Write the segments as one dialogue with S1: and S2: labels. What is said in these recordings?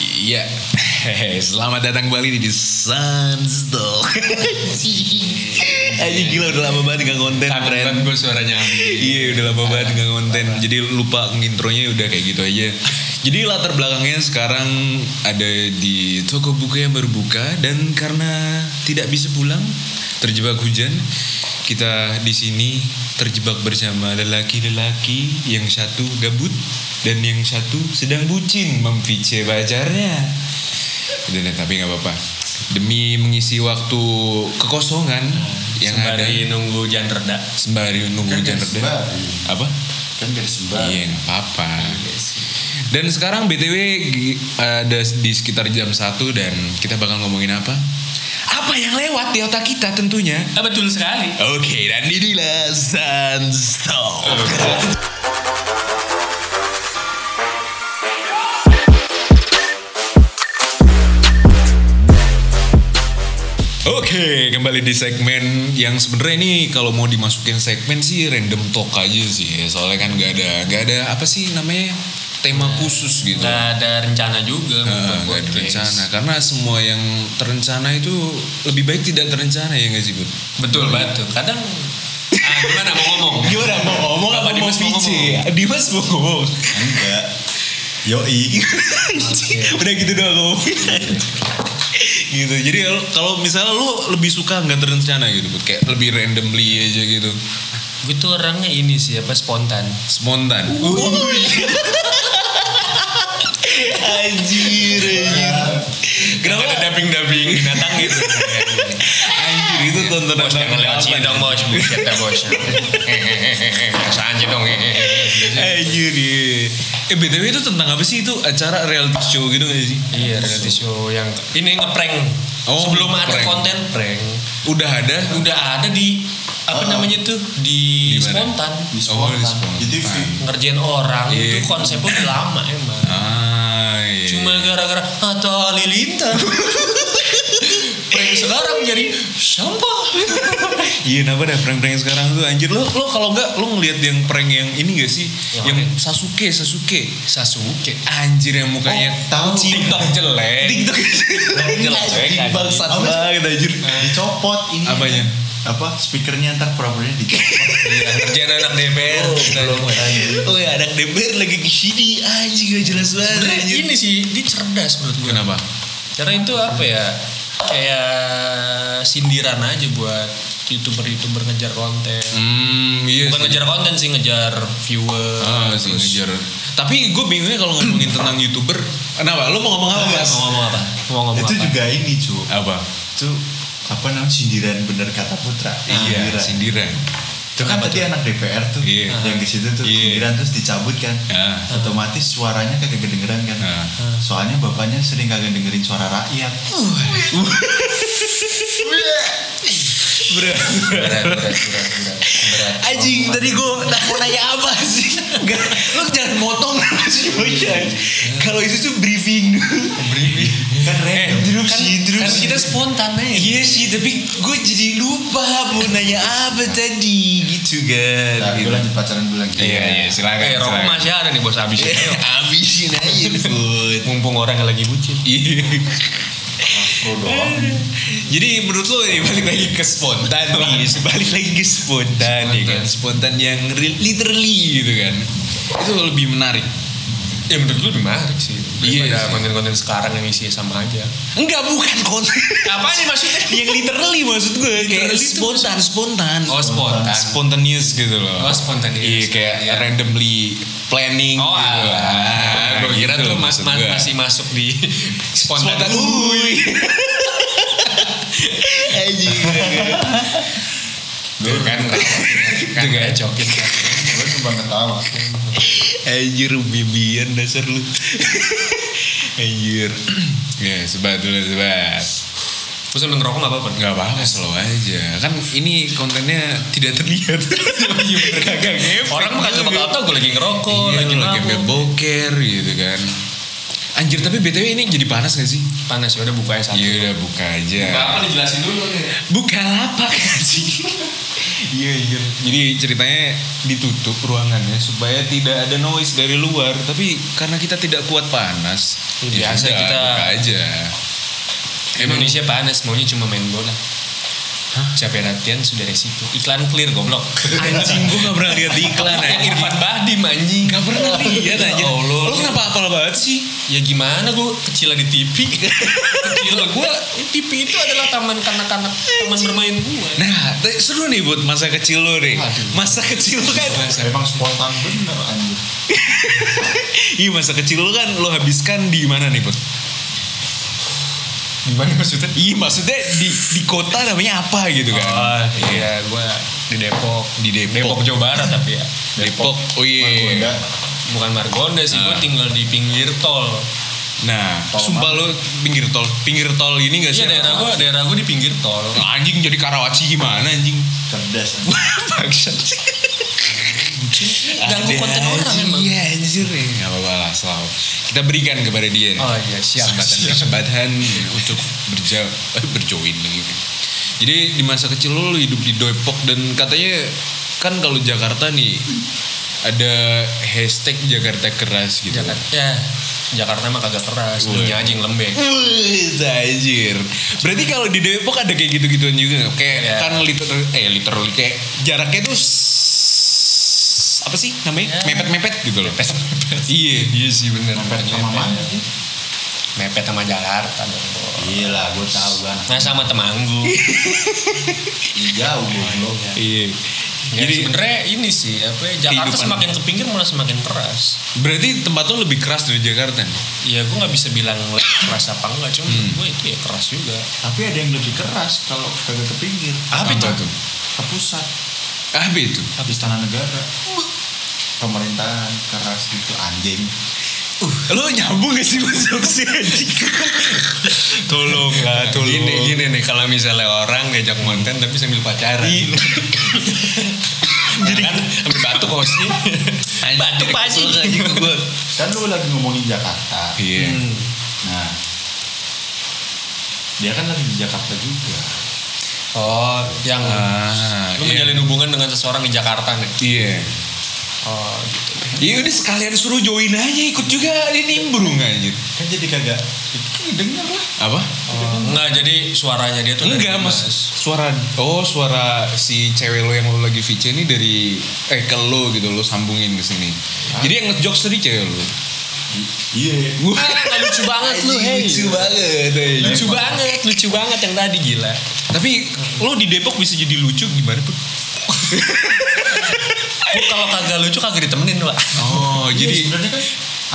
S1: Iya, Hehehe, selamat datang kembali di Sunstalk. Aji gila udah lama banget nggak konten, friend.
S2: gue suaranya
S1: Iya udah lama banget nggak konten. Jadi lupa ngintronya udah kayak gitu aja. Jadi latar belakangnya sekarang ada di toko buku yang baru buka dan karena tidak bisa pulang terjebak hujan, kita di sini terjebak bersama lelaki-lelaki yang satu gabut dan yang satu sedang bucin memvice pacarnya. Udah deh, tapi nggak apa-apa. Demi mengisi waktu kekosongan yang
S2: Sembari
S1: ada
S2: nunggu hujan reda
S1: sembari nunggu
S3: Kan
S1: hujan reda.
S3: gak sembari. Iya,
S1: Apa?
S3: kan biar sembah
S1: Iya, nggak apa-apa. Dan sekarang BTW gi- ada di sekitar jam 1 dan kita bakal ngomongin apa? Apa yang lewat di otak kita tentunya.
S2: ah, Betul sekali
S1: Oke, dan inilah Sunstalk. Oke, kembali di segmen yang sebenarnya ini kalau mau dimasukin segmen sih random talk aja sih, soalnya kan gak ada gak ada apa sih namanya tema khusus gitu.
S2: Gak ada rencana juga
S1: Heeh, Nah, nggak ada
S2: membuat nah, podcast.
S1: rencana karena semua yang terencana itu lebih baik tidak terencana ya nggak sih bud?
S2: Betul betul Kadang ah, Gimana mau ngomong
S1: Oh, Gimana mau ngomong
S2: apa
S1: apa Dimas mau
S2: Dimas mau
S1: ngomong? Dimas mau ngomong.
S3: enggak yoi
S1: Udah gitu doang ngomong. gitu. Jadi kalau- kalau misalnya lu lebih suka nggak terencana gitu, Bud. kayak lebih randomly aja gitu,
S2: Gue tuh orangnya ini sih apa spontan
S1: spontan. anjir, anjir. Kenapa ada daping-daping binatang gitu? anjir itu tontonan
S2: Bos jangan
S1: banget
S2: lewat
S1: apa
S2: sini
S1: nih?
S2: dong bos Buset dah bos Hehehe, Biasa aja dong hehehe.
S1: Anjir. Eh, iya. Eh BTW itu tentang apa sih itu acara reality show gitu nggak sih?
S2: Iya reality show yang Ini ngeprank
S1: Oh,
S2: Sebelum ada
S1: ngeprank.
S2: konten prank
S1: Udah ada.
S2: Udah ada di Apa
S3: Oh, oh.
S2: namanya tuh Di
S1: Di mana?
S2: spontan
S3: di
S1: Oh, di
S3: spontan
S1: spontan.
S3: jadi vi-
S2: Ngerjain orang
S1: Iya.
S2: Itu konsepnya udah lama emang
S1: Ah, iya.
S2: Cuma gara-gara Atta Halilintar Prank sekarang jadi sampah
S1: Iya, kenapa dah prank-prank sekarang tuh anjir lo lo kalau nggak lo ngelihat yang prank yang ini gak sih?
S2: Yang
S1: Yang,
S2: mana?
S1: Sasuke, Sasuke.
S2: Sasuke
S1: Anjir yang mukanya
S3: Oh, tahu.
S1: TikTok jelek. TikTok
S2: Jelek,
S1: jelek.
S2: anjir.
S1: Bangsat
S3: Apa sih?
S1: banget anjir.
S3: dicopot ini
S1: Apanya?
S3: apa speakernya ntar programnya dicopot
S2: Kerjaan anak DPR
S1: Oh ya anak DPR lagi kesini anjir gak jelas banget
S2: Sebenarnya
S1: anjir.
S2: ini sih Dia cerdas menurut gue
S1: Kenapa?
S2: Karena itu apa ya Kayak sindiran aja buat Youtuber-youtuber ngejar konten
S1: Hmm, iya
S2: Bukan
S1: sih.
S2: ngejar konten sih Ngejar viewer
S1: Ah, sih
S2: terus-
S1: ngejar. Tapi gue bingungnya kalau ngomongin tentang youtuber, kenapa? Lo mau ngomong apa mas?
S2: Mau ngomong apa? Mau ngomong
S3: itu
S2: apa?
S3: juga ini cu
S1: Apa?
S3: itu apa namanya sindiran bener kata putra
S1: Iya, sindiran.
S3: itu kan
S2: Apa
S3: tadi anak DPR tuh
S1: Iya.
S3: yang di situ tuh
S1: Iya.
S3: sindiran terus dicabut kan
S1: Ah.
S3: otomatis suaranya kagak kedengeran kan
S1: Ah.
S3: soalnya bapaknya sering kagak dengerin suara rakyat
S1: Berat.
S2: Berat, berat, berat, berat, berat.
S1: Anjing tadi gue mau nanya apa sih? Gak, lo jangan motong sih
S2: Iya.
S1: bocah. Kalau itu tuh briefing dulu. Briefing.
S3: kan
S1: Eh,
S3: random
S1: kan, kan kita
S2: spontan aja.
S1: Iya sih, tapi gue jadi lupa mau nanya apa tadi gitu kan.
S3: Nah, gue
S1: Gitu.
S3: lanjut pacaran dulu lagi
S1: Iya, iya, silakan.
S2: Eh, rokok
S1: silakan.
S2: masih ada nih bos abisin. Ayo.
S1: Abisin aja, Bud.
S2: Mumpung orang yang lagi bucin.
S1: Iya.
S3: Pro doang
S1: Jadi menurut lo nih balik lagi ke spontan nih, balik lagi ke spontan, ya kan, spontan yang real- literally gitu kan. Itu lebih menarik.
S2: Ya menurut gue lebih menarik sih.
S1: Iya
S2: Daripada
S1: sih.
S2: konten-konten sekarang yang isinya sama aja.
S1: Enggak bukan konten.
S2: Apa nih maksudnya?
S1: yang literally maksud gue kayak
S2: Literally itu
S1: spontan, spontan.
S2: Oh spontan.
S1: spontaneous gitu loh.
S2: Oh spontaneous.
S1: Iya kayak randomly planning
S2: Oh
S1: gitu.
S2: alah. gue kira
S1: gitu
S2: tuh mas,
S1: maksud
S2: mas-
S1: gue.
S2: masih masuk di spontan.
S1: spontan. Uy.
S2: Tuh kan. Kan gak cokin.
S3: gue cuma ketawa
S1: Anjir bibian dasar lu. Anjir. ya, sebat dulu sebat.
S2: Terus lu ngerokok gak apa-apa?
S1: Gak apa-apa slow aja. Kan ini kontennya tidak terlihat. Kagak ngefek.
S2: Iya, Orang mah kagak bakal tau gue lagi ngerokok,
S1: Iya,
S2: lagi
S1: lu lagi ambil
S2: mabuk.
S1: boker gitu kan. Anjir tapi BTW ini jadi panas gak sih?
S2: Panas ya udah bukanya satu.
S1: Iya udah buka aja.
S2: Apa nih jelasin dulu nih.
S1: Buka lapak anjing. Iya iya. Jadi ceritanya ditutup ruangannya supaya tidak ada noise dari luar. Tapi karena kita tidak kuat panas,
S2: Ya, biasa
S1: sudah,
S2: kita-
S1: buka aja. Emang
S2: Indonesia panas, maunya cuma main bola. Capek latihan sudah resiko. Iklan clear goblok.
S1: anjing gue gak pernah lihat di iklan
S2: Yang
S1: anjing.
S2: Irfan Bahdim anjing.
S1: Gak pernah lihat anjing.
S2: Ya Allah.
S1: Lo kenapa apal banget sih?
S2: Ya gimana gue kecil di TV. kecil gue TV itu adalah taman kanak-kanak, taman bermain gue.
S1: Nah, t- seru nih buat masa kecil lo nih.
S2: Waduh.
S1: Masa kecil lo kan,
S3: Emang spontan bener anjir.
S1: iya masa kecil lo kan lo habiskan di mana nih put?
S2: Gimana maksudnya?
S1: Iya maksudnya di di kota namanya apa gitu kan?
S2: Oh iya, gue di Depok.
S1: Di Depok.
S2: Depok Jawa Barat tapi ya.
S1: Depok. Oh
S3: Margonda.
S1: iya.
S2: Bukan Margonda sih, gue
S1: Ah.
S2: tinggal di pinggir tol.
S1: Nah, sumpah lo pinggir tol, pinggir tol ini gak sih?
S2: Iya daerah gue, daerah gue di pinggir tol.
S1: Anjing jadi karawaci gimana anjing?
S3: Cerdas. anjir.
S1: Bangsat.
S2: Ganggu
S1: Ada
S2: konten orang
S1: anjing,
S2: emang.
S1: Iya anjir ya. Gak apa-apa lah selalu. Kita berikan kepada dia nih.
S2: Oh iya, siap. siap.
S1: Kesempatan-kesempatan untuk berjauh, eh, berjoin lagi. Jadi di masa kecil lo, lo hidup di Depok dan katanya kan kalau Jakarta nih ada hashtag Jakarta keras gitu.
S2: Jakarta. Ya, Jakarta mah kagak keras,
S1: Woi.
S2: dunia aja yang lembek.
S1: Wih, anjir. Berarti kalau di Depok ada kayak gitu-gituan juga nggak? Kayak
S2: Ya.
S1: kan liter eh literally kayak jaraknya tuh s- apa sih namanya?
S2: Ya.
S1: Mepet-mepet gitu loh. Iya.
S2: Iya sih bener.
S3: Mepet sama mana sih?
S2: Mepet sama Jakarta dong. Bo.
S3: Iya lah, gue tahu kan.
S2: Nah sama Temanggung.
S3: Iya, jauh gue.
S1: Iya.
S2: Ya,
S1: Jadi
S2: sebenarnya ini sih apa ya, Jakarta
S1: Kehidupan.
S2: semakin ke pinggir malah semakin keras.
S1: berarti tempat lo lebih keras dari Jakarta nih.
S2: Iya gue nggak bisa bilang lebih keras apa enggak, cuma gue itu ya keras juga.
S3: Tapi ada yang lebih keras kalau kagak ke pinggir.
S1: Apa itu?
S3: Ke pusat.
S1: Apa itu?
S3: Habis tanah negara. Pemerintahan keras gitu anjing.
S1: Lo nyambung gak sih masuk sih anjing?
S2: Tolong lah,
S1: tolong.
S2: Gini, gini nih kalau misalnya orang ngajak konten tapi sambil pacaran.
S1: Ya
S2: Jadi kan sambil batuk hostnya. batuk Pak Haji.
S1: gue.
S3: Kan lu lagi ngomongin Jakarta.
S1: Iya.
S2: Hmm.
S3: Nah, dia kan lagi di Jakarta juga.
S2: Oh, yang
S1: Ah,
S2: lu
S1: iya.
S2: menjalin hubungan dengan seseorang di Jakarta nih.
S1: Iya.
S2: Oh, gitu.
S1: Iya udah sekalian suruh join aja ikut juga ini burung anjir.
S3: Kan jadi kagak
S2: Iya,
S3: Ih, denger lah.
S1: Apa?
S2: Enggak, jadi suaranya dia tuh dari
S1: Enggak mas.
S2: Dimas.
S1: Suara oh suara si cewek lo yang lo lagi VC ini dari eh ke lo gitu lo sambungin ke sini. Jadi yang ngejokes tadi cewek lo.
S3: I- Iya.
S2: Ah, nggak lucu banget lu,
S1: Anjing,
S2: hey.
S1: Lucu banget. hey.
S2: Lucu banget, lucu banget yang tadi gila.
S1: Tapi lo di Depok bisa jadi lucu gimana pun.
S2: Gua kalau kagak lucu kagak ditemenin, Pak.
S1: Oh
S3: Jadi
S1: jadi
S3: sebenarnya kan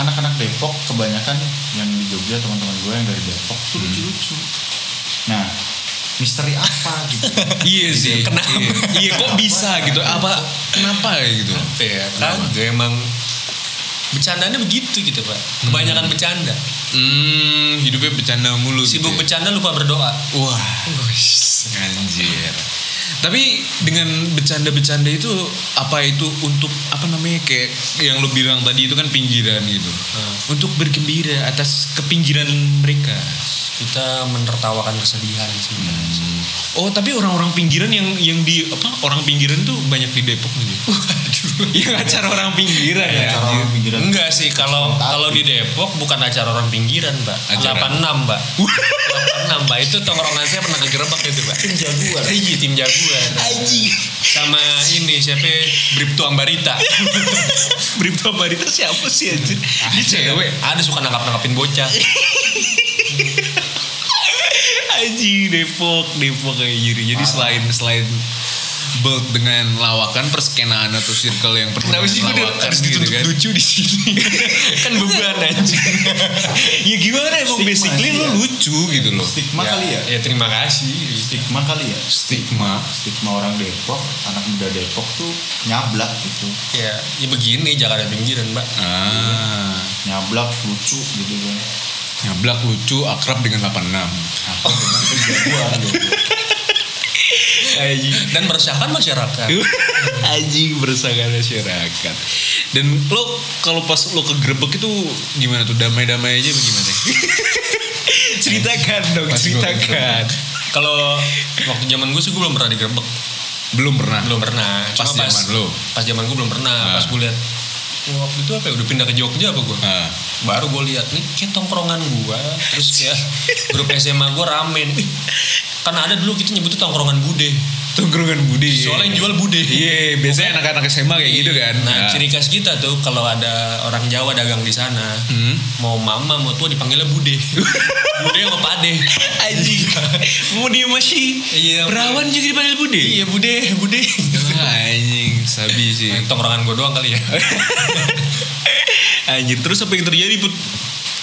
S3: anak-anak Depok kebanyakan yang di Jogja teman-teman gue yang dari Depok tuh lucu-lucu. Nah, misteri apa gitu?
S1: iya sih.
S2: Kenapa?
S1: Iya. Iya kok bisa gitu? Apa kenapa gitu?
S2: Iya, kagak emang bercandanya begitu gitu, Pak. Kebanyakan bercanda.
S1: Hmm hidupnya bercanda mulu. gitu
S2: Sibuk
S1: ya.
S2: bercanda lupa berdoa.
S1: Wah, anjir. Tapi dengan bercanda-bercanda itu apa itu untuk apa namanya kayak yang lo bilang tadi itu kan pinggiran gitu.
S2: Hmm.
S1: Untuk bergembira atas kepinggiran mereka.
S2: Kita menertawakan kesedihan sebenarnya.
S1: Oh, tapi orang-orang pinggiran yang yang di apa orang pinggiran tuh banyak di Depok gitu. Yang acara orang pinggiran ya.
S3: Acara orang pinggiran.
S2: Enggak sih kalau kalau di Depok bukan acara orang pinggiran, Mbak.
S1: Acara.
S2: 86, Mbak. 86, Mbak. Itu tongkrongan saya pernah kegerebek itu, Mbak. Tim jagoan. Iya, tim jagoan. Sama ini siapa? Bripto Ambarita. Hmm.
S1: Bribtu Barita siapa sih anjir? Dia cewek.
S2: Ah, Ada suka nangkap-nangkapin bocah.
S1: Aji Depok, Depok kayak gini. Jadi selain selain build dengan lawakan perskenaan atau circle yang penuh
S2: Kenapa sih gue
S1: dengan lawakan
S2: harus
S1: gitu
S2: dituntut
S1: kan.
S2: lucu di sini? kan beban aja.
S1: Ya gimana emang
S3: Stigma
S1: basically
S3: sih
S1: lo
S3: ya.
S1: lucu gitu loh.
S3: Stigma kali ya?
S2: Ya terima kasih.
S3: Stigma kali ya?
S1: Stigma.
S3: Stigma orang Depok, anak muda Depok tuh nyablak gitu.
S2: Ya, ya begini Jakarta pinggiran, Mbak.
S1: Ah,
S3: Nyablak lucu gitu kan.
S1: nyablak lucu akrab dengan 86.
S2: Oh,
S3: Aku memang kejagoan gitu.
S2: Dan meresahkan masyarakat.
S1: Anjing bersangka masyarakat. Dan lo kalau pas lo kegerebek itu gimana tuh damai-damai aja bagaimana? ceritakan dong,
S2: Pas gua
S1: ceritakan.
S2: Kalau waktu zaman gue sih gue belum pernah digerebek.
S1: belum pernah
S2: belum pernah
S1: Pas
S2: Cuma
S1: zaman lu.
S2: pas zaman gue belum
S1: Ah.
S2: pernah pas gue lihat "Wah, waktu itu apa ya udah pindah ke Jogja apa gue
S1: Ah.
S2: baru gue lihat nih kayak tongkrongan gue terus kayak grup SMA gue ramen Ih, karena ada dulu kita nyebutnya tongkrongan bude
S1: tongkrongan Budi
S2: soalnya yang jual bude
S1: Iya, biasanya anak-anak SMA kayak gitu kan.
S2: nah ciri khas kita tuh kalau ada orang Jawa dagang di sana
S1: Hmm.
S2: mau mama mau tua dipanggilnya bude bude sama pade
S1: Anjing. Mau dia masih
S2: Iya,
S1: perawan juga dipanggil Budi.
S2: iya bude bude
S1: Ah, anjing, sabi sih.
S2: Nah, tongkrongan gue doang kali ya
S1: Anjir, terus apa yang terjadi put?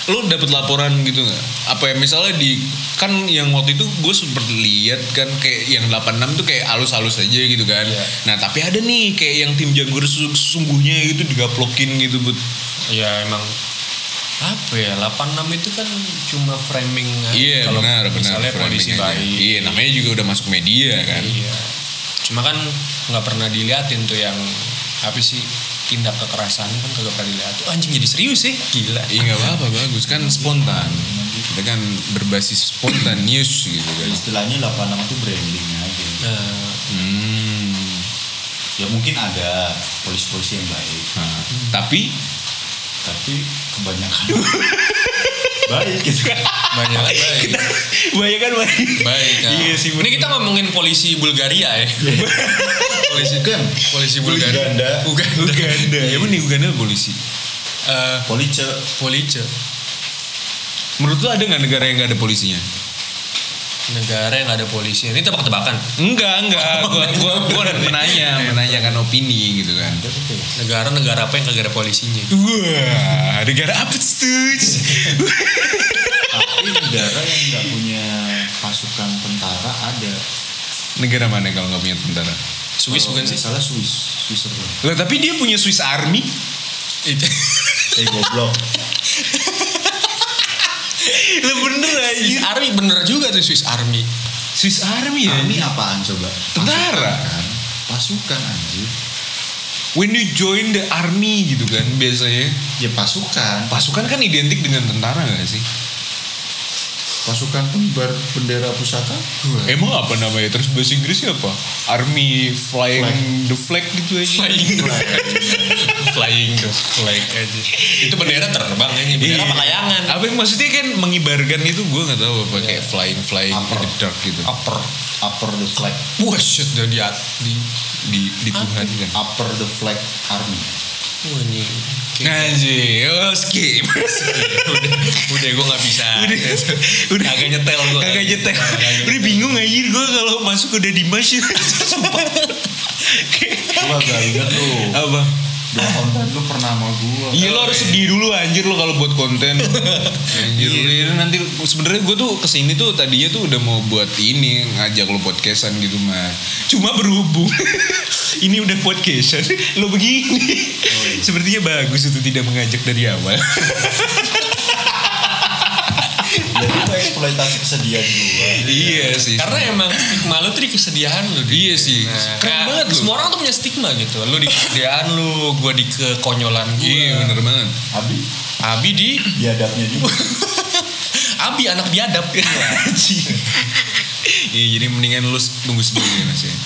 S1: Lo dapet laporan gitu nggak? Apa ya misalnya di kan yang waktu itu gue sempat lihat kan kayak yang 86 tuh kayak halus-halus aja gitu kan.
S2: Iya.
S1: Nah tapi ada nih kayak yang tim jagur sesu- sesungguhnya gitu digaplokin gitu put.
S2: ya emang apa ya 86 itu kan cuma framing aja.
S1: Iya
S2: Nah, Kalau
S1: benar benar.
S2: misalnya
S1: framing
S2: polisi
S1: aja.
S2: baik
S1: Iya namanya juga udah masuk media kan.
S2: Iya. cuma kan nggak pernah diliatin tuh yang apa sih tindak kekerasan kan kagak pernah dilihat tuh anjing jadi serius sih gila
S1: Iya nggak apa-apa bagus kan spontan. Kita kan berbasis spontaneous gitu kan.
S2: Iya.
S3: Istilahnya 86 itu branding aja.
S2: nah,
S1: Hmm.
S3: Ya mungkin ada polisi-polisi yang baik,
S1: Nah, Tapi
S3: tapi kebanyakan baik gitu.
S2: banyak baik
S1: banyak kan baik.
S2: baik nah.
S1: Iya sih,
S2: ini kita ngomongin polisi Bulgaria ya polisi kan polisi Bulgaria
S3: Uganda.
S2: Uganda Uganda
S1: Emang di Uganda polisi.
S2: Eh,
S3: Police
S2: polisi
S1: Menurut lo ada nggak negara yang nggak ada polisinya?
S2: negara yang nggak ada polisi ini tebak-tebakan
S1: Enggak, Oh, enggak. Iya, Gua gua gua menanya, menanyakan opini gitu kan.
S2: negara-negara apa yang kagak ada polisinya
S1: Wah, negara apa tuh?
S3: tapi negara yang nggak punya pasukan tentara ada.
S1: negara mana kalau nggak punya tentara?
S2: Swiss
S3: Kalau
S2: bukan sih
S3: nggak Salah Swiss, Switzerland.
S1: Lah tapi dia punya Swiss Army.
S2: Itu.
S3: Eh goblok.
S1: Lah bener
S2: Swiss
S1: Iya.
S2: Army bener juga tuh Swiss Army
S1: Swiss Army
S2: Iya,
S1: ya?
S3: Ini apaan coba?
S1: Tentara.
S3: Pasukan. Pasukan anjir.
S1: When you join the army gitu kan biasanya.
S3: Ya pasukan.
S1: Pasukan kan identik dengan tentara gak sih?
S3: Pasukan pembar bendera pusaka.
S1: Emang apa namanya? Terus bahasa Inggrisnya apa? Army flying
S3: Flag.
S1: the flag gitu aja.
S2: flying flying the flag aja itu bendera terbang ini bendera apa layangan
S1: Iya. Apa yang maksudnya kan mengibarkan itu gue nggak tahu apa kayak
S2: Iya.
S1: flying flying
S3: Apa?
S1: in the dark gitu.
S2: upper
S3: Upper the flag.
S2: Ah, wah shit dah di at- di
S1: Di di Tuhan kan.
S3: Upper the flag army.
S2: wah ini
S1: Anjir, oh, skip.
S2: udah udah gue nggak bisa
S1: udah, udah
S2: Kagak nyetel gua.
S1: Kagak nyetel. Udah bingung anjir gue kalau masuk udah Dimas ya. Sumpah.
S3: Coba gak ingat lu.
S1: apa?
S3: Dua tahun tadi lu pernah sama gua.
S1: Iya lo harus sedih dulu anjir lo kalau buat konten. Iya, anjir lo ini nanti sebenarnya gue tuh kesini tuh tadinya tuh udah mau buat ini ngajak lo podcastan gitu mah. Cuma berhubung ini udah podcastan lo begini. Sepertinya bagus itu tidak mengajak dari awal.
S3: Jadi lu eksploitasi kesedihan gua.
S1: iya sih.
S2: karena emang stigma lu tuh di kesedihan lu di
S1: Iya sih.
S2: Nah,
S1: Keren
S2: kayak
S1: banget lu.
S2: semua orang tuh punya stigma gitu lu di kesedihan lu gue di kekonyolan gue
S1: Iya bener banget.
S3: Abi
S2: Abi di
S3: biadabnya juga.
S2: Abi anak biadab
S1: Iya jadi mendingan lu tunggu sedih ya, mas ya.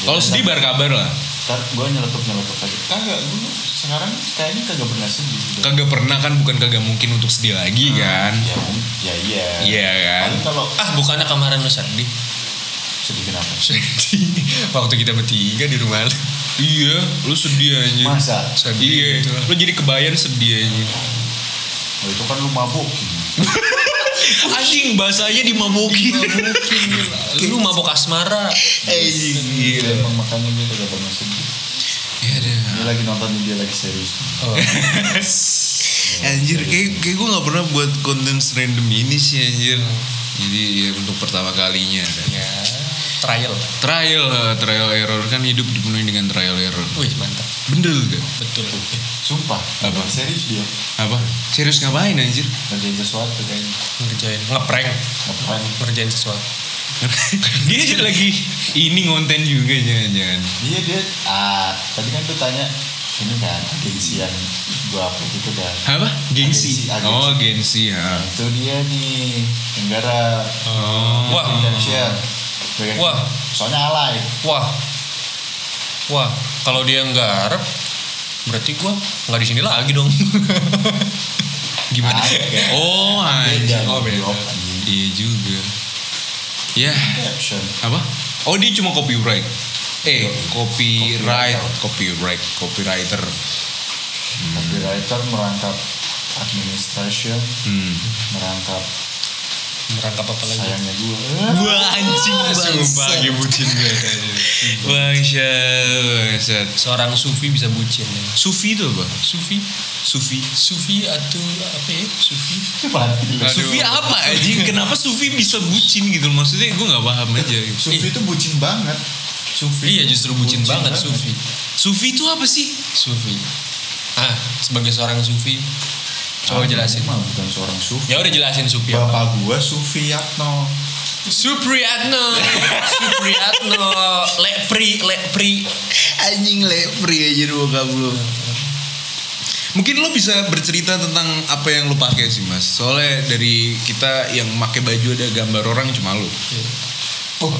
S1: Kalau sedih bar kabar lah.
S3: Ntar gua nyeletuk nyeletuk aja. Kagak gua sekarang kayaknya kagak pernah sedih. udah.
S1: Kagak pernah kan bukan kagak mungkin untuk sedih lagi kan.
S3: Ya, ya iya.
S1: Iya kan.
S3: Paling kalau
S2: ah bukannya kemarin lu sedih
S3: sedih kenapa?
S2: sedih waktu kita bertiga di rumah lu
S1: Iya, lu sedih anjir.
S3: Masa?
S2: sedih
S1: Iya,
S2: gitu.
S1: lu jadi kebayang sedih anjir.
S3: Oh, itu kan lu mabuk.
S1: Anjing bahasanya dimabukin.
S2: lu mabok asmara
S3: Iya. Emang makanya gue kagak pernah sedih.
S1: Iya deh.
S3: Dia lagi nonton dia lagi serius.
S2: oh.
S1: anjir, kayak, kayak gue gak pernah buat konten random ini sih anjir. Jadi ya, untuk pertama kalinya. kan.
S2: ya trial
S1: Trial, eh, trial error kan hidup dipenuhi dengan trial error.
S2: wih mantap
S1: Bener gak?
S2: betul
S3: Sumpah.
S1: Apa?
S3: Serius dia.
S1: Apa? Serius ngapain anjir?
S3: Kerjain sesuatu kayaknya.
S2: ngerjain ngeprank
S3: Ngapain?
S2: ngerjain sesuatu
S1: Dia juga lagi ini ngonten juga jangan-jangan.
S3: Iya dia. Ah, tadi kan tuh tanya ini kan agensi yang gua upload itu kan.
S1: Apa? Gengsi.
S3: Agensi, agensi.
S1: Oh, gengsi ya.
S3: Itu dia nih Tenggara
S1: Oh.
S2: Wah.
S3: Indonesia.
S2: Wah.
S3: Soalnya alay.
S2: wah Wah, kalau dia nggarap berarti gua nggak di sini lagi dong.
S1: Gimana?
S3: Agak.
S1: Oh, anjing.
S3: Beda,
S1: Oh, beda.
S3: blok, anjing.
S1: Iya juga. Ya,
S3: Caption.
S1: apa? Oh, dia cuma copyright. Eh, copyright,
S3: Copyright.
S1: copyright, copywriter.
S3: Copywriter merangkap administration,
S1: Hmm.
S3: merangkap
S2: Merangkap apa lagi?
S3: sayangnya Eh, gue.
S1: Wah, anjing
S2: Sumpah
S1: bangsat.
S2: lagi bucin gue tadi.
S1: Bangsat, Eh, bangsat.
S2: Seorang sufi bisa bucin. ya.
S1: Sufi itu apa?
S2: Sufi,
S1: Sufi.
S2: sufi atau apa ya? Sufi.
S3: Mati.
S1: Sufi apa anjing? Kenapa Sufi bisa bucin gitu? Maksudnya gue nggak paham aja. Gitu.
S3: Sufi itu bucin banget. Sufi.
S2: Iya justru bucin, banget, sufi.
S1: Sufi itu apa sih?
S2: Sufi. Ah, sebagai seorang sufi coba
S3: Kamu
S2: Oh, jelasin.
S3: mah bukan seorang sufi.
S2: Ya udah jelasin sufi. apa.
S3: Bapak gua sufi Yatno.
S2: Supriyatno, Supriyatno, Lepri, Lepri.
S1: Anjing lepri aja dua kablo. Mungkin lo bisa bercerita tentang apa yang lo pakai sih mas. Soalnya dari kita yang pakai baju ada gambar orang cuma lo.
S3: Oh.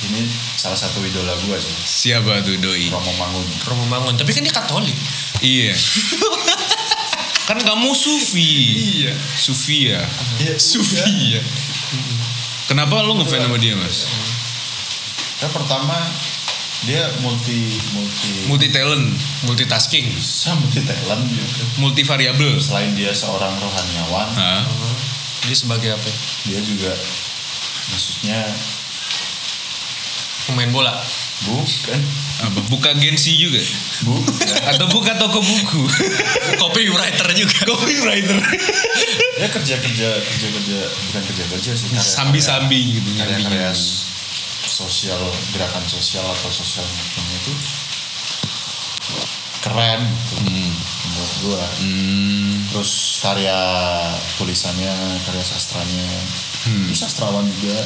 S3: Ini salah satu idola gua sih.
S1: Siapa tuh doi?
S3: Romo Mangun.
S2: Romo Mangun, tapi kan dia Katolik.
S1: Iya. kan kamu Sufi.
S2: Iya.
S1: Sufi ya.
S3: Iya, sufi.
S1: Iya. Kenapa lo ngefans sama dia mas?
S3: Yang pertama dia multi multi
S1: Multi talent,
S2: Multitasking.
S3: bisa multi talent gitu.
S1: multi variabel.
S3: Selain dia seorang rohaniawan,
S1: Hah?
S2: Dia sebagai apa? ya?
S3: dia juga maksudnya
S2: Pemain bola.
S3: bukan
S1: Apa? Buka gensi juga?
S3: bukan
S1: Atau buka toko buku?
S2: Copywriter juga.
S1: Copywriter.
S3: dia kerja kerja kerja kerja bukan kerja kerja sih karya-
S1: Nah, Sambi-sambi gitu.
S3: karya
S1: nyambi-nyambi.
S3: karya sosial gerakan sosial atau sosial movement itu keren gitu,
S1: Hmm.
S3: menurut gua
S1: Hmm.
S3: terus karya tulisannya karya sastranya
S1: Hmm.
S3: terus sastrawan juga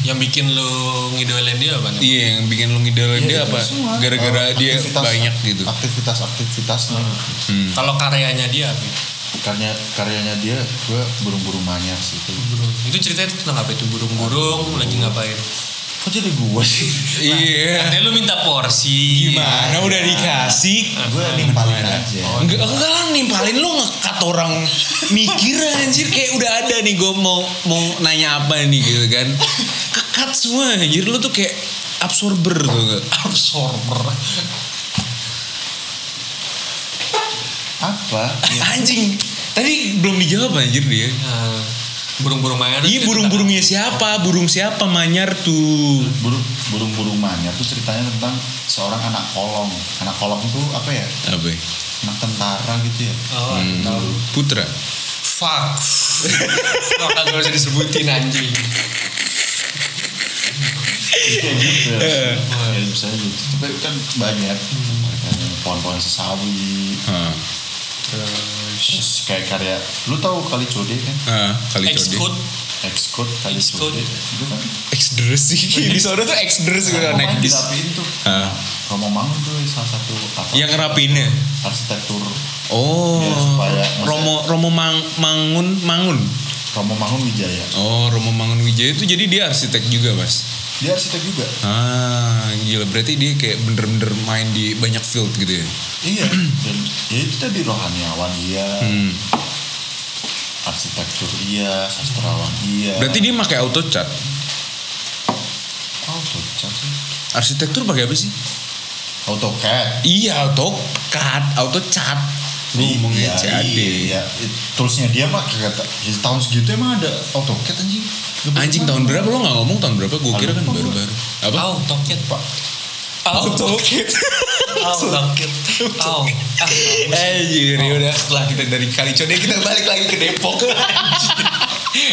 S2: Yang bikin lu ngidolain dia apa? nih?
S1: Iya yang bikin lo ngidolain dia
S3: Iya,
S1: apa?
S3: semua.
S1: Gara-gara
S3: Eh,
S1: dia
S3: aktivitas- Ah.
S1: banyak gitu.
S3: aktivitas aktivitasnya
S1: Hmm.
S2: Kalau karyanya dia apa? ya?
S3: karya karyanya dia gua burung-burung manyar sih itu
S2: Burung. Itu ceritanya tentang apa itu? Burung-burung lagi ngapain?
S3: kok jadi gua sih
S1: Iya.
S2: Nah, Katanya lu minta porsi.
S1: Gimana udah dikasih?
S3: gue nimpalin aja
S1: Enggak, enggak lah nimpalin lo ngekat orang mikir anjir kayak udah ada nih gue mau mau nanya apa nih gitu kan. Kekat semua anjir lo tuh kayak absorber tuh enggak?
S2: Absorber.
S3: apa Iya.
S1: Anjing. Tadi belum dijawab anjir dia.
S2: Nah, burung-burung mana?
S1: Iya burung-burungnya siapa? Burung siapa manyar tuh?
S3: burung burung burung manyar tuh ceritanya tentang seorang anak kolong anak kolong tuh apa ya
S1: Apa? ya?
S3: anak tentara gitu ya
S2: Oh,
S1: Hmm, Putra.
S2: Fuck. Lo kagak usah disebutin anjing.
S3: Iya gitu ya misalnya gitu tapi kan banyak
S1: Hmm.
S3: Kayak pohon-pohon sesawi
S1: Ah,
S2: Terus.
S3: terus kayak karya lu tahu kali code kan
S1: ah, kali
S2: Exclude.
S3: Excode kali
S2: Excode.
S3: code itu kan
S1: Exdres sih. Di sana tuh exdres gitu
S3: Romo
S1: naik
S3: Mangun
S1: bis.
S3: dirapiin tuh
S1: Ah.
S3: Romo Mangun tuh salah satu apa
S1: Yang ngerapiinnya.
S3: arsitektur
S1: Oh.
S3: Biar Iya, supaya-
S1: Romo Romo Mang- Mangun Mangun.
S3: Romo Mangun Wijaya
S1: Oh, Romo Mangun Wijaya itu jadi dia arsitek juga, Mas.
S3: dia arsitek juga
S1: Ah, gila. Berarti dia kayak bener-bener main di banyak field gitu ya.
S3: Iya. Dan ya itu tadi rohaniawan iya,
S1: Hmm.
S3: arsitektur iya, sastrawan iya.
S1: Berarti dia pakai AutoCAD.
S3: AutoCAD sih.
S1: Arsitektur pakai apa sih?
S3: AutoCAD.
S1: Iya, AutoCAD, AutoCAD. Gue ngomongnya CAD.
S3: Iya, It- toolsnya dia mah kayak kata ya, tahun segitu emang ada AutoCAD anjing. Nggak bener
S1: Anjing
S3: banget.
S1: tahun berapa lo gak ngomong tahun berapa? Gue kira kan
S3: Lupa gua.
S1: baru-baru. Apa?
S2: Au, toket.
S3: Pak.
S1: AutoCAD.
S2: Au, toket. Au. Ah,
S1: Eh, jadi udah setelah kita dari Kalicode kita balik lagi ke Depok.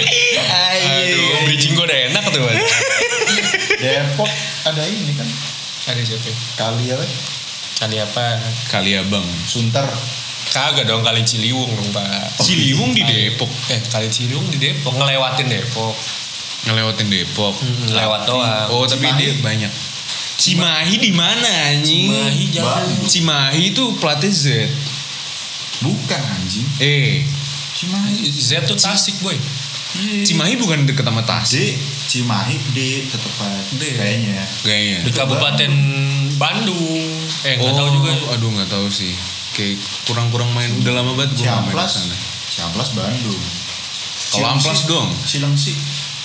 S2: Aduh,
S1: Aduh,
S2: bridging gue udah enak tuh. Bang.
S3: Depok ada ini kan
S2: Ada siapa? ya?
S3: kali apa?
S2: Kali apa?
S1: Kali Abang.
S3: Sunter.
S2: Kagak dong kali Ciliwung dong pak.
S1: Ciliwung di Depok.
S2: Eh Oh. kali Ciliwung di Depok ngelewatin Depok.
S1: Ngelewatin Depok.
S2: Lewat doang.
S1: Oh, tapi
S3: Cimahi.
S1: dia banyak. Cimahi di mana anjing?
S2: Cimahi jauh.
S1: Ba- Cimahi itu platnya Z.
S3: Bukan anjing.
S1: Eh,
S3: Cimahi.
S2: Z tuh Tasik boy.
S1: Cimahi bukan deket sama Tasik.
S3: D Cimahi D tetepan
S1: D.
S3: kayaknya
S2: di
S1: Kayaknya. Oh,
S2: Kabupaten Bandung. Eh nggak tahu juga.
S1: Aduh nggak tahu sih. Kayak kurang-kurang main. Udah lama banget gue main
S3: Ciamplas
S1: kesana.
S3: Ciamplas Bandung
S1: Kalau Amplas dong.
S3: Cilengsi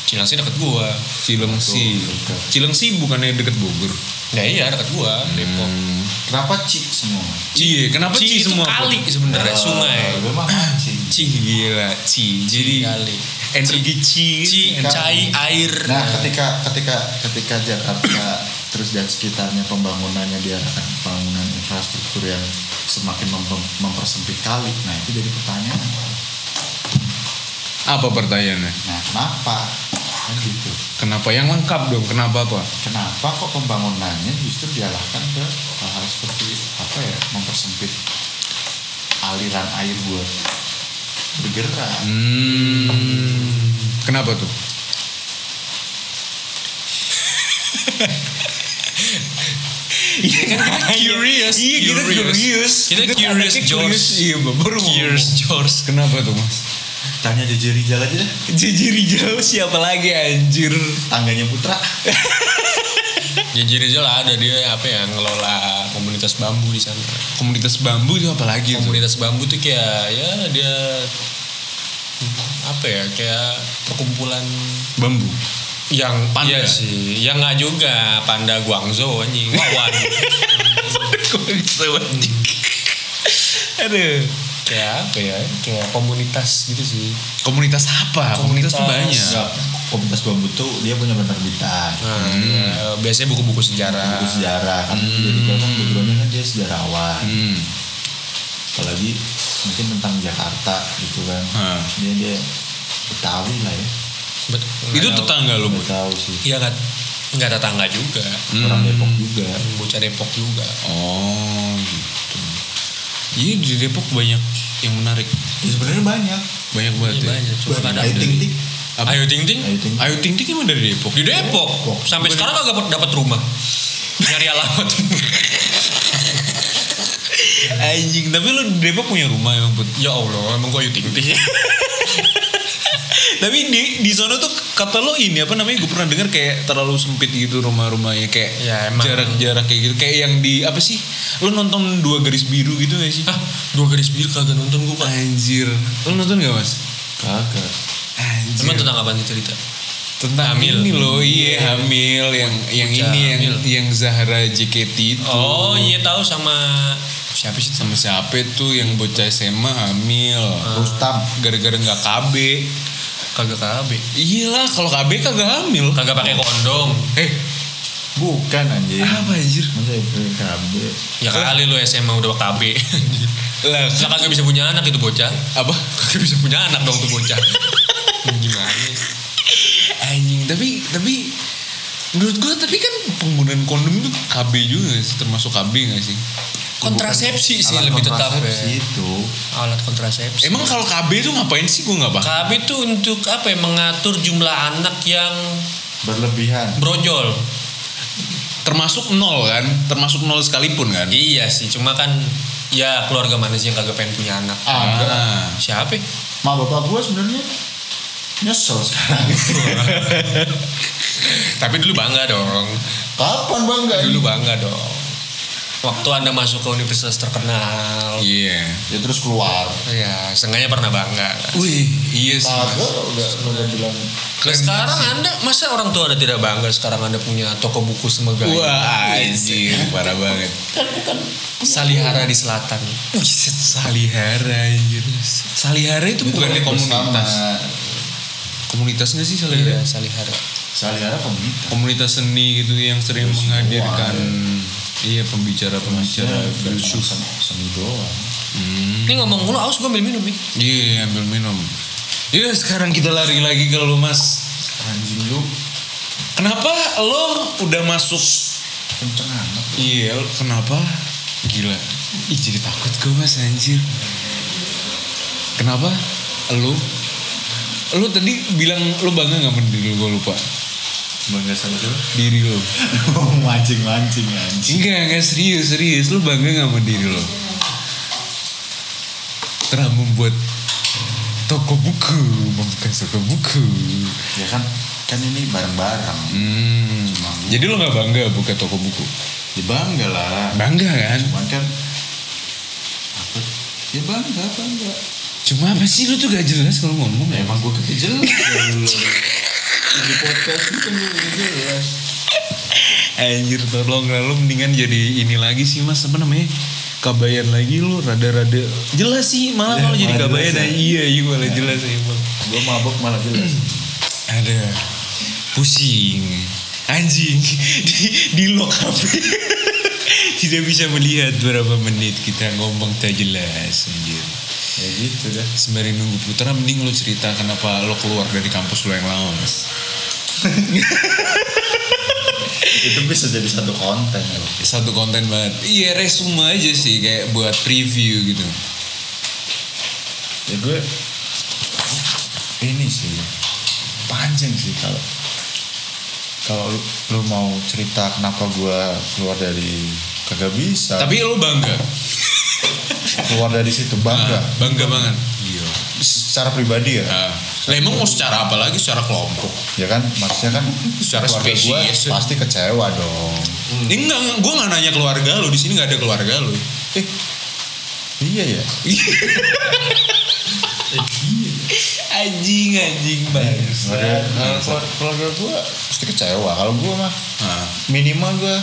S2: Cilengsi deket gua.
S1: Cilengsi.
S3: Betul.
S1: Cilengsi bukannya deket Bogor.
S2: Ya iya deket gua. Depok.
S1: Hmm.
S3: kenapa Ci semua Eh,
S1: Cie, kenapa Ci,
S2: Ci Oh. itu
S1: semua?
S2: kali sebenarnya sungai.
S3: gue mah mancing
S1: Ci gila, Ci. Jadi
S2: kali.
S1: energi Ci.
S2: Ci, cai, air.
S3: nah ketika ketika ketika Jakarta terus dan sekitarnya pembangunannya diarahkan ke pembangunan infrastruktur yang semakin mem- mempersempit kali nah itu jadi pertanyaan
S1: Apa pertanyaannya?
S3: nah kenapa kan gitu
S1: Kenapa yang lengkap dong? Kenapa apa?
S3: kenapa kok pembangunannya justru diarahkan ke hal-hal seperti apa ya mempersempit aliran air buat bergerak
S1: Hmm. Kenapa tuh? Iya kan kita
S2: curious,
S1: Iya kita
S2: curious.
S1: curious.
S2: Kita curious,
S1: anaknya
S2: George.
S1: Iya baru mau
S2: Gears
S1: ngomong.
S2: George.
S1: Kenapa tuh mas?
S3: tanya JJ Rizal aja deh
S1: Jiji Rizal siapa lagi anjir?
S3: tangganya Putra
S2: Jadi Rizal ada dia apa ya ngelola komunitas bambu di sana.
S1: Komunitas bambu itu apa lagi tuh?
S2: Komunitas bambu tuh kayak ya dia apa ya kayak perkumpulan
S1: Bambu.
S2: yang
S1: Panda.
S2: Iya sih, yang nggak juga panda Guangzhou anjing. Wawan.
S1: Aduh.
S2: Hmm. kayak apa ya? Kayak komunitas gitu sih.
S1: Komunitas apa? Komunitas, tuh banyak.
S2: Komunitas.
S3: Enggak, komunitas bambu tuh dia punya penerbitan
S2: Nah, ya, biasanya buku-buku sejarah.
S3: buku sejarah kan jadi kan backgroundnya kan dia sejarawan
S1: Hmm.
S3: apalagi mungkin tentang Jakarta gitu kan
S1: Hah.
S3: dia dia Betawi lah ya
S2: Bet-
S1: Itu
S2: nggak tahu.
S1: tetangga lo
S3: nggak
S1: Bud?
S3: tahu sih
S2: Iya nggak nggak tetangga juga.
S3: orang Depok juga
S2: Bocah Depok juga.
S1: Oh gitu. Iya di Depok banyak yang menarik.
S3: ya, sebenarnya banyak
S1: Banyak banget
S2: Iya,
S1: ya.
S2: banyak. Cuma kadang
S3: Ayu Ting Ting
S1: Apa?
S2: Ayo ting ting.
S3: Ayu Ting Ting.
S1: Ayu Ting Ting emang dari Depok.
S2: kan Di Depok.
S3: Depok.
S2: Sampai sekarang kagak dapat rumah. Nyari alamat.
S1: Anjing, tapi lo di Depok punya rumah emang Bud.
S2: ya Allah, emang gua Ayu ting ting.
S1: Tapi di di sono tuh kata lo ini apa namanya? Gue pernah dengar kayak terlalu sempit gitu rumah-rumahnya kayak
S2: Ya, emang.
S1: jarak-jarak kayak gitu. Kayak yang di apa sih? Lo nonton dua garis biru gitu gak sih?
S2: Hah, dua garis biru Ah, kagak nonton gua, Pak.
S1: Anjir. Lo nonton gak mas?
S3: kagak
S1: Anjir.
S2: Emang tentang apa nih cerita?
S1: tentang
S2: Hamil.
S1: ini loh iya hamil yang yang
S2: Bocah
S1: ini yang
S2: hamil.
S1: yang Zahra JKT itu
S2: Oh iya tahu sama siapa sih?
S1: sama siapa tuh yang bocah SMA hamil
S2: Ah.
S3: Rustam
S1: gara-gara nggak KB
S2: Kagak KB.
S1: iyalah kalau KB kagak hamil
S2: Kagak pakai Ya. kondom.
S1: eh
S3: bukan anjing
S1: apa anjir
S3: masa BKB
S2: Ya kali lu SMA udah KB.
S1: lah
S2: Lah kagak bisa punya anak itu bocah.
S1: apa
S2: Kagak bisa punya anak dong tuh bocah. Gimana?
S1: anjing tapi tapi menurut gua tapi kan penggunaan kondom itu KB juga nggak sih termasuk KB nggak sih
S2: Kontrasepsi sih
S3: Alat
S2: lebih tetap
S3: kontrasepsi
S2: ya.
S3: itu
S2: Alat kontrasepsi.
S1: emang kalau KB itu ngapain sih gua nggak paham
S2: KB itu untuk apa ya? Mengatur jumlah anak yang
S3: berlebihan
S2: brojol.
S1: termasuk nol kan termasuk nol sekalipun kan
S2: Iya sih, cuma kan ya keluarga mana sih yang kagak pengen punya anak?
S3: ada
S1: ah.
S2: Siapa? ya?
S3: Nah, ma bapak gua sebenarnya nyesel sekarang
S2: Tapi dulu bangga dong.
S3: kapan bang gak
S2: Dulu bangga dong. Waktu Anda masuk ke universitas terkenal.
S1: Iya.
S3: ya terus keluar
S2: Ya, seenggaknya pernah bangga. kan?
S1: Wih, iya sih.
S3: kagak
S1: Mas.
S3: udah udah bilang
S2: Nah, sekarang Anda, masa orang tua Anda tidak bangga sekarang Anda punya toko buku
S1: Iya,
S2: semegah ini?
S1: Wah,
S2: iya.
S1: anjir, parah banget.
S2: Salihara di selatan.
S1: Salihara anjir. Salihara itu
S2: kan
S1: bukannya komunitas.
S3: bersama.
S1: Komunitas nggak sih Salihara?
S2: Iya, Salihara.
S3: Salihara komunitas
S1: Komunitas seni gitu yang sering
S3: Terus
S1: menghadirkan
S3: semua,
S1: iya pembicara-pembicara
S3: Maksudnya bukan
S1: filsuf.
S3: seni seni doang
S1: Hmm.
S2: Ini ngomong mulu, aus gue ambil minum nih.
S1: Iya, ambil minum. Yuk, sekarang kita lari lagi ke lu, Mas.
S3: anjing lu
S1: Kenapa lo udah masuk?
S3: kenceng amat
S1: Iya, lo- kenapa? Gila. Ih, jadi takut gue, Mas, anjir. Kenapa? Lo? Lo tadi bilang lo bangga gak sama diri lo? Gue lupa.
S3: bangga sama lu
S1: Diri lo.
S3: mancing mancing anjing
S1: Enggak, enggak serius, serius. Lo bangga gak sama diri lo? Telah membuat Toko buku, bukan toko buku.
S3: ya kan kan ini bareng-bareng
S1: Hmm. Jadi lo nggak bangga buka toko buku?
S3: ya bangga lah
S1: Bangga kan?
S3: cuman kan apa ya bangga bangga
S1: Cuma apa sih lu tuh gak jelas kalau ngomong ya?
S3: ya emang gue kagak jelas ya lu. di podcast ini kan gue kagak jelas
S1: Anjir tolong lah lu mendingan jadi ini lagi sih mas apa namanya? Kabayan lagi lu rada-rada jelas sih malah
S3: Ya,
S1: kalau jadi
S3: malah
S1: kabayan
S3: jelas ya.
S1: nah, iya iya malah jelas ya bang.
S3: gue mabok malah jelas
S1: Ada pusing anjing di di lock HP tidak bisa melihat berapa menit kita ngomong tak jelas anjir.
S3: ya gitu dah
S1: Sembari nunggu putera mending lu cerita kenapa lo keluar dari kampus lo yang lama mas.
S3: itu bisa jadi satu konten loh
S1: Ya, Satu konten banget. Iya resume aja sih kayak buat preview gitu.
S3: ya gue ini sih panjang sih kalau kalau lu, lu mau cerita kenapa gue keluar dari kagak bisa
S1: Tapi lo bangga,
S3: keluar dari situ
S1: Ah,
S3: bangga
S1: bangga banget. Iya.
S3: secara pribadi ya
S1: Ah, lah emang mau secara apa lagi? Secara kelompok?
S3: ya kan maksudnya kan
S1: Secara
S3: keluarga gue
S1: spesies.
S3: pasti kecewa dong
S1: Eh, enggak, enggak. Gue nggak nanya keluarga lo. Di sini nggak ada keluarga lo.
S3: eh iya ya
S1: anjing, anjing
S3: Iya,
S1: banget.
S3: Keluarga- Eh, kalau keluarga gue pasti kecewa kalau gue mah
S1: Ah,
S3: minimal gue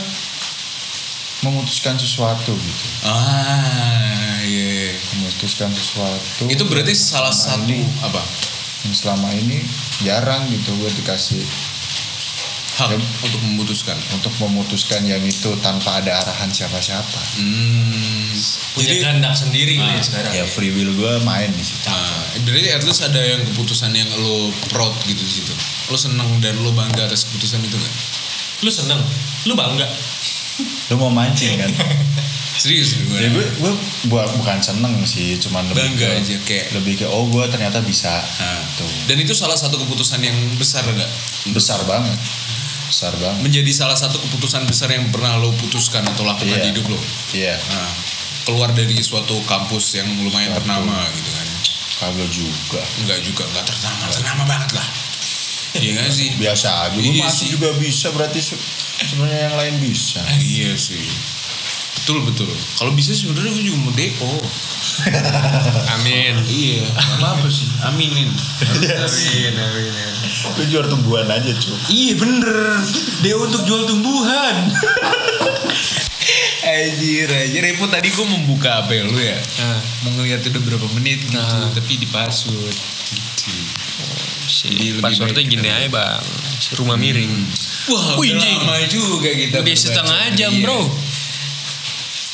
S3: memutuskan sesuatu gitu
S1: ah, iya.
S3: memutuskan sesuatu
S1: Itu berarti salah satu
S3: Selama Nah, ini-
S1: apa?
S3: yang selama ini jarang gitu gue dikasih
S1: Hak
S3: Ya.
S1: untuk memutuskan.
S3: untuk memutuskan yang itu tanpa ada arahan siapa-siapa
S1: Hmm.
S2: Punya kehendak sendiri gitu ya sekarang.
S1: iya.
S3: ya free will gue main di situ
S1: Ah, berarti at least ada yang keputusan yang lo proud gitu di situ. Lo seneng dan lo bangga atas keputusan itu kan?
S2: Lu seneng, lu bangga.
S3: lu mau mancing kan
S1: Serius
S3: ya
S1: gue.
S3: gue gue bukan seneng sih cuman lebih
S1: Bangga
S3: ke-
S1: aja kayak.
S3: lebih ke oh gue ternyata bisa
S1: Ah.
S3: tuh
S1: Dan itu salah satu keputusan yang besar enggak?
S3: besar banget besar banget
S1: menjadi salah satu keputusan besar yang pernah lo putuskan atau lakukan
S3: Iya.
S1: di hidup lo.
S3: iya
S1: Nah, keluar dari suatu kampus yang lumayan
S3: Suatu.
S1: ternama gitu kan.
S3: kagak juga
S1: Enggak juga, enggak ternama, ternama banget lah. Iya gak sih?
S3: biasa aja gue
S1: Iya
S3: masih
S1: sih.
S3: juga bisa berarti se- sebenarnya yang lain bisa
S1: iya sih. Betul betul. Kalau bisa sebenarnya gue juga mau DO.
S2: Amin.
S1: Iya, apa apa sih? Aminin.
S2: Amin, amin.
S3: lu jual tumbuhan aja cuy
S1: Iya bener. DO untuk jual tumbuhan. Anjir, anjir. Repo tadi gue membuka HP lu ya.
S2: Ah,
S1: mau ngeliat udah berapa menit gitu
S2: Nah.
S1: tapi di password gitu. Jadi
S2: si
S1: lebih
S2: passwordnya
S1: baik kita
S2: gini aja bang, si rumah miring.
S1: Hmm. wah
S2: Wih,
S1: udah
S2: jing.
S1: lama juga kita
S2: Lebih
S1: berbaca.
S2: setengah jam
S1: Iya.
S2: bro.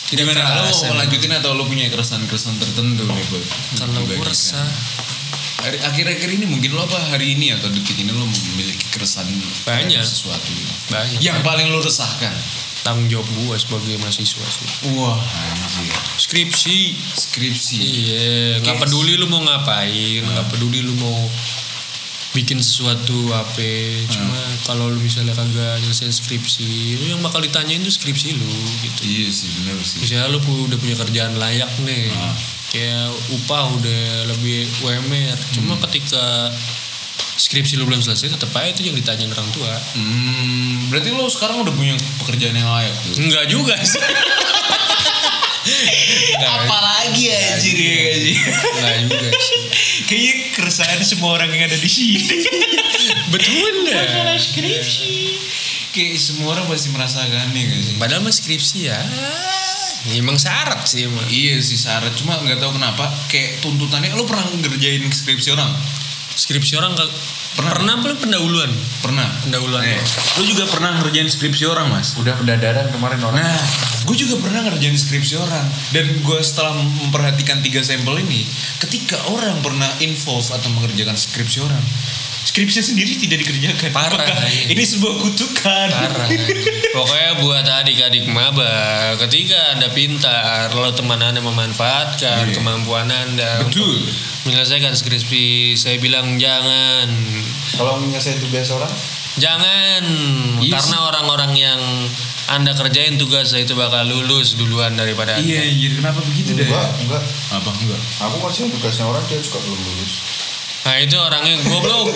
S1: gimana lo
S2: terasa,
S1: mau lanjutin atau lo punya keresahan keresahan tertentu nih kan. Boy?
S2: Kalau
S1: Untuk
S2: gue
S1: dibagikan.
S2: resah,
S1: Hari- akhir-akhir ini mungkin lo apa hari ini atau detik ini lo memiliki keresahan
S2: Banyak.
S1: terhadap sesuatu gitu?
S2: banyak.
S1: yang paling lo resahkan
S2: tanggung jawab gue sebagai mahasiswa sih.
S1: wah ya. anjir
S2: Skripsi.
S1: skripsi
S2: Iya, nggak
S1: Yes.
S2: peduli lu mau ngapain, nggak peduli lu mau bikin sesuatu apa. Cuma kalau lu misalnya kagak nyelesain skripsi, lu yang bakal ditanyain tuh skripsi lu gitu.
S1: iya sih benar sih
S2: Misalnya lu pu- udah punya kerjaan layak nih,
S1: Ah.
S2: kayak upah udah lebih UMR. Cuma ketika skripsi lu belum selesai, tetap aja itu yang ditanyain orang tua.
S1: hmm, berarti lo sekarang udah punya pekerjaan yang layak tuh
S2: Enggak juga sih.
S1: Apalagi anjir ya anjir.
S2: Enggak juga sih.
S1: Kayaknya keresahan semua orang yang ada di sini.
S2: Betul lah.
S1: Kayak semua orang pasti merasakan ya gak sih?
S2: Padahal mah skripsi ya. Emang syarat sih emang.
S1: Iya sih syarat cuma nggak tahu kenapa kayak tuntutannya lo pernah ngerjain skripsi orang
S2: Skripsi orang ke-
S1: Pernah.
S2: pernah pernah apa lu pendahuluan?
S1: pernah
S2: Pendahuluan.
S1: Eh, lo juga pernah ngerjain skripsi orang mas
S3: udah pendadaran kemarin orang
S1: nah gue juga pernah ngerjain skripsi orang dan gue setelah memperhatikan tiga sampel ini ketika orang pernah involve atau mengerjakan skripsi orang skripsi sendiri tidak dikerjakan
S2: Parah,
S1: Apakah
S2: anjing.
S1: ini sebuah kutukan
S2: Parah. Pokoknya buat adik-adik maba, ketika Anda pintar, lalu teman Anda memanfaatkan
S1: Iya.
S2: kemampuan Anda
S1: Betul.
S2: untuk menyelesaikan skripsi, saya bilang jangan.
S3: kalau menyelesaikan tugas orang
S2: Jangan
S1: Iya
S2: karena orang-orang yang Anda kerjain tugas itu bakal lulus duluan daripada Anda.
S1: Iya, iya kenapa begitu deh?
S3: enggak enggak
S1: Apa enggak?
S3: aku ngerjain tugasnya orang dia juga belum lulus
S2: Nah itu orangnya goblok.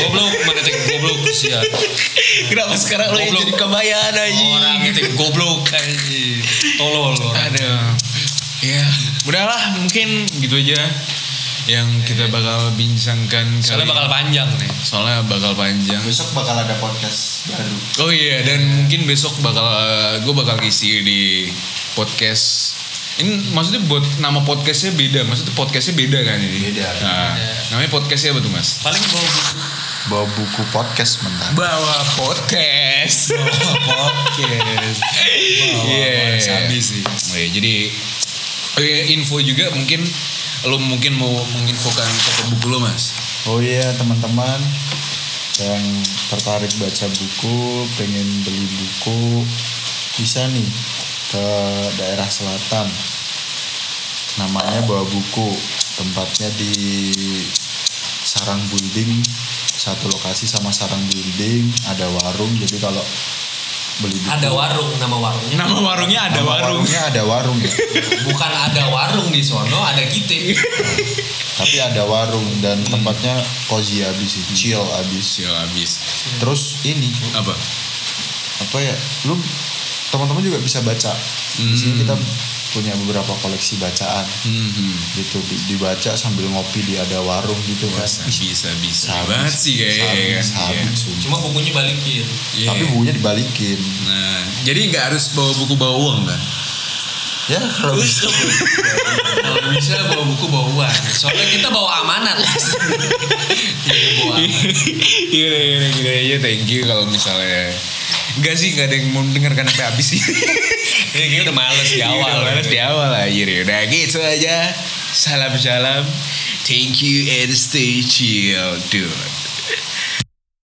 S2: goblok, mendetek goblok siap.
S1: Kenapa sekarang lo yang
S2: Goblok.
S1: jadi kebayaan aja?
S2: Orang ngetik goblok anjing. Tolol orang.
S1: Ada. Ya, udahlah mungkin gitu aja yang kita bakal bincangkan kali-
S2: Soalnya bakal panjang nih.
S1: soalnya bakal panjang.
S3: Besok bakal ada podcast
S1: Oh
S3: baru.
S1: iya, dan mungkin besok bakal gue bakal isi di podcast. Ini maksudnya buat nama podcastnya beda, maksudnya podcastnya beda kan ini?
S3: Beda.
S1: Nah, namanya podcastnya apa tuh mas?
S2: Paling bawa buku.
S3: Bawa buku podcast bentar.
S1: Bawa podcast.
S2: Podcast.
S1: Iya.
S2: wasabi sih.
S1: Oh iya, jadi oh iya, info juga mungkin lo mungkin mau menginfokan toko buku lo mas.
S3: Oh iya teman-teman yang tertarik baca buku, pengen beli buku, bisa nih ke daerah selatan. Namanya bawa buku, tempatnya di Sarang Building, satu lokasi sama Sarang Building, ada warung. Jadi kalau beli buku,
S2: Ada warung nama warungnya.
S1: Nama warungnya ada
S3: nama
S1: warung.
S3: warungnya ada warung ya.
S2: Bukan ada warung di sono, ada kita.
S3: Tapi ada warung dan tempatnya cozy abis sih, chill abis.
S1: Sial habis.
S3: Terus ini
S1: Apa?
S3: apa ya lu teman-teman juga bisa baca di sini kita punya beberapa koleksi bacaan
S1: Hmm,
S3: gitu Di- dibaca sambil ngopi di ada warung gitu kan
S1: bisa bisa
S3: Habis,
S1: banget sih kayaknya.
S3: habis,
S1: ya kan? Iya.
S3: habis, sumpah.
S2: Cuma bukunya balikin.
S1: Iya.
S3: tapi bukunya dibalikin
S1: Nah, jadi nggak harus bawa buku bawa uang kan?
S3: ya kalau bisa
S2: Kalau bisa bawa buku bawa uang. Soalnya kita bawa amanat. Iya, bawa amanat.
S1: Iya, iya, iya, iya, thank you kalau misalnya Enggak sih, enggak ada yang mau mendengarkan sampai habis sih. Iya,
S2: Ini Iya, kayaknya udah males di awal.
S1: Udah males di awal aja. Udah gitu aja. Salam-salam. Thank you and stay chill, dude.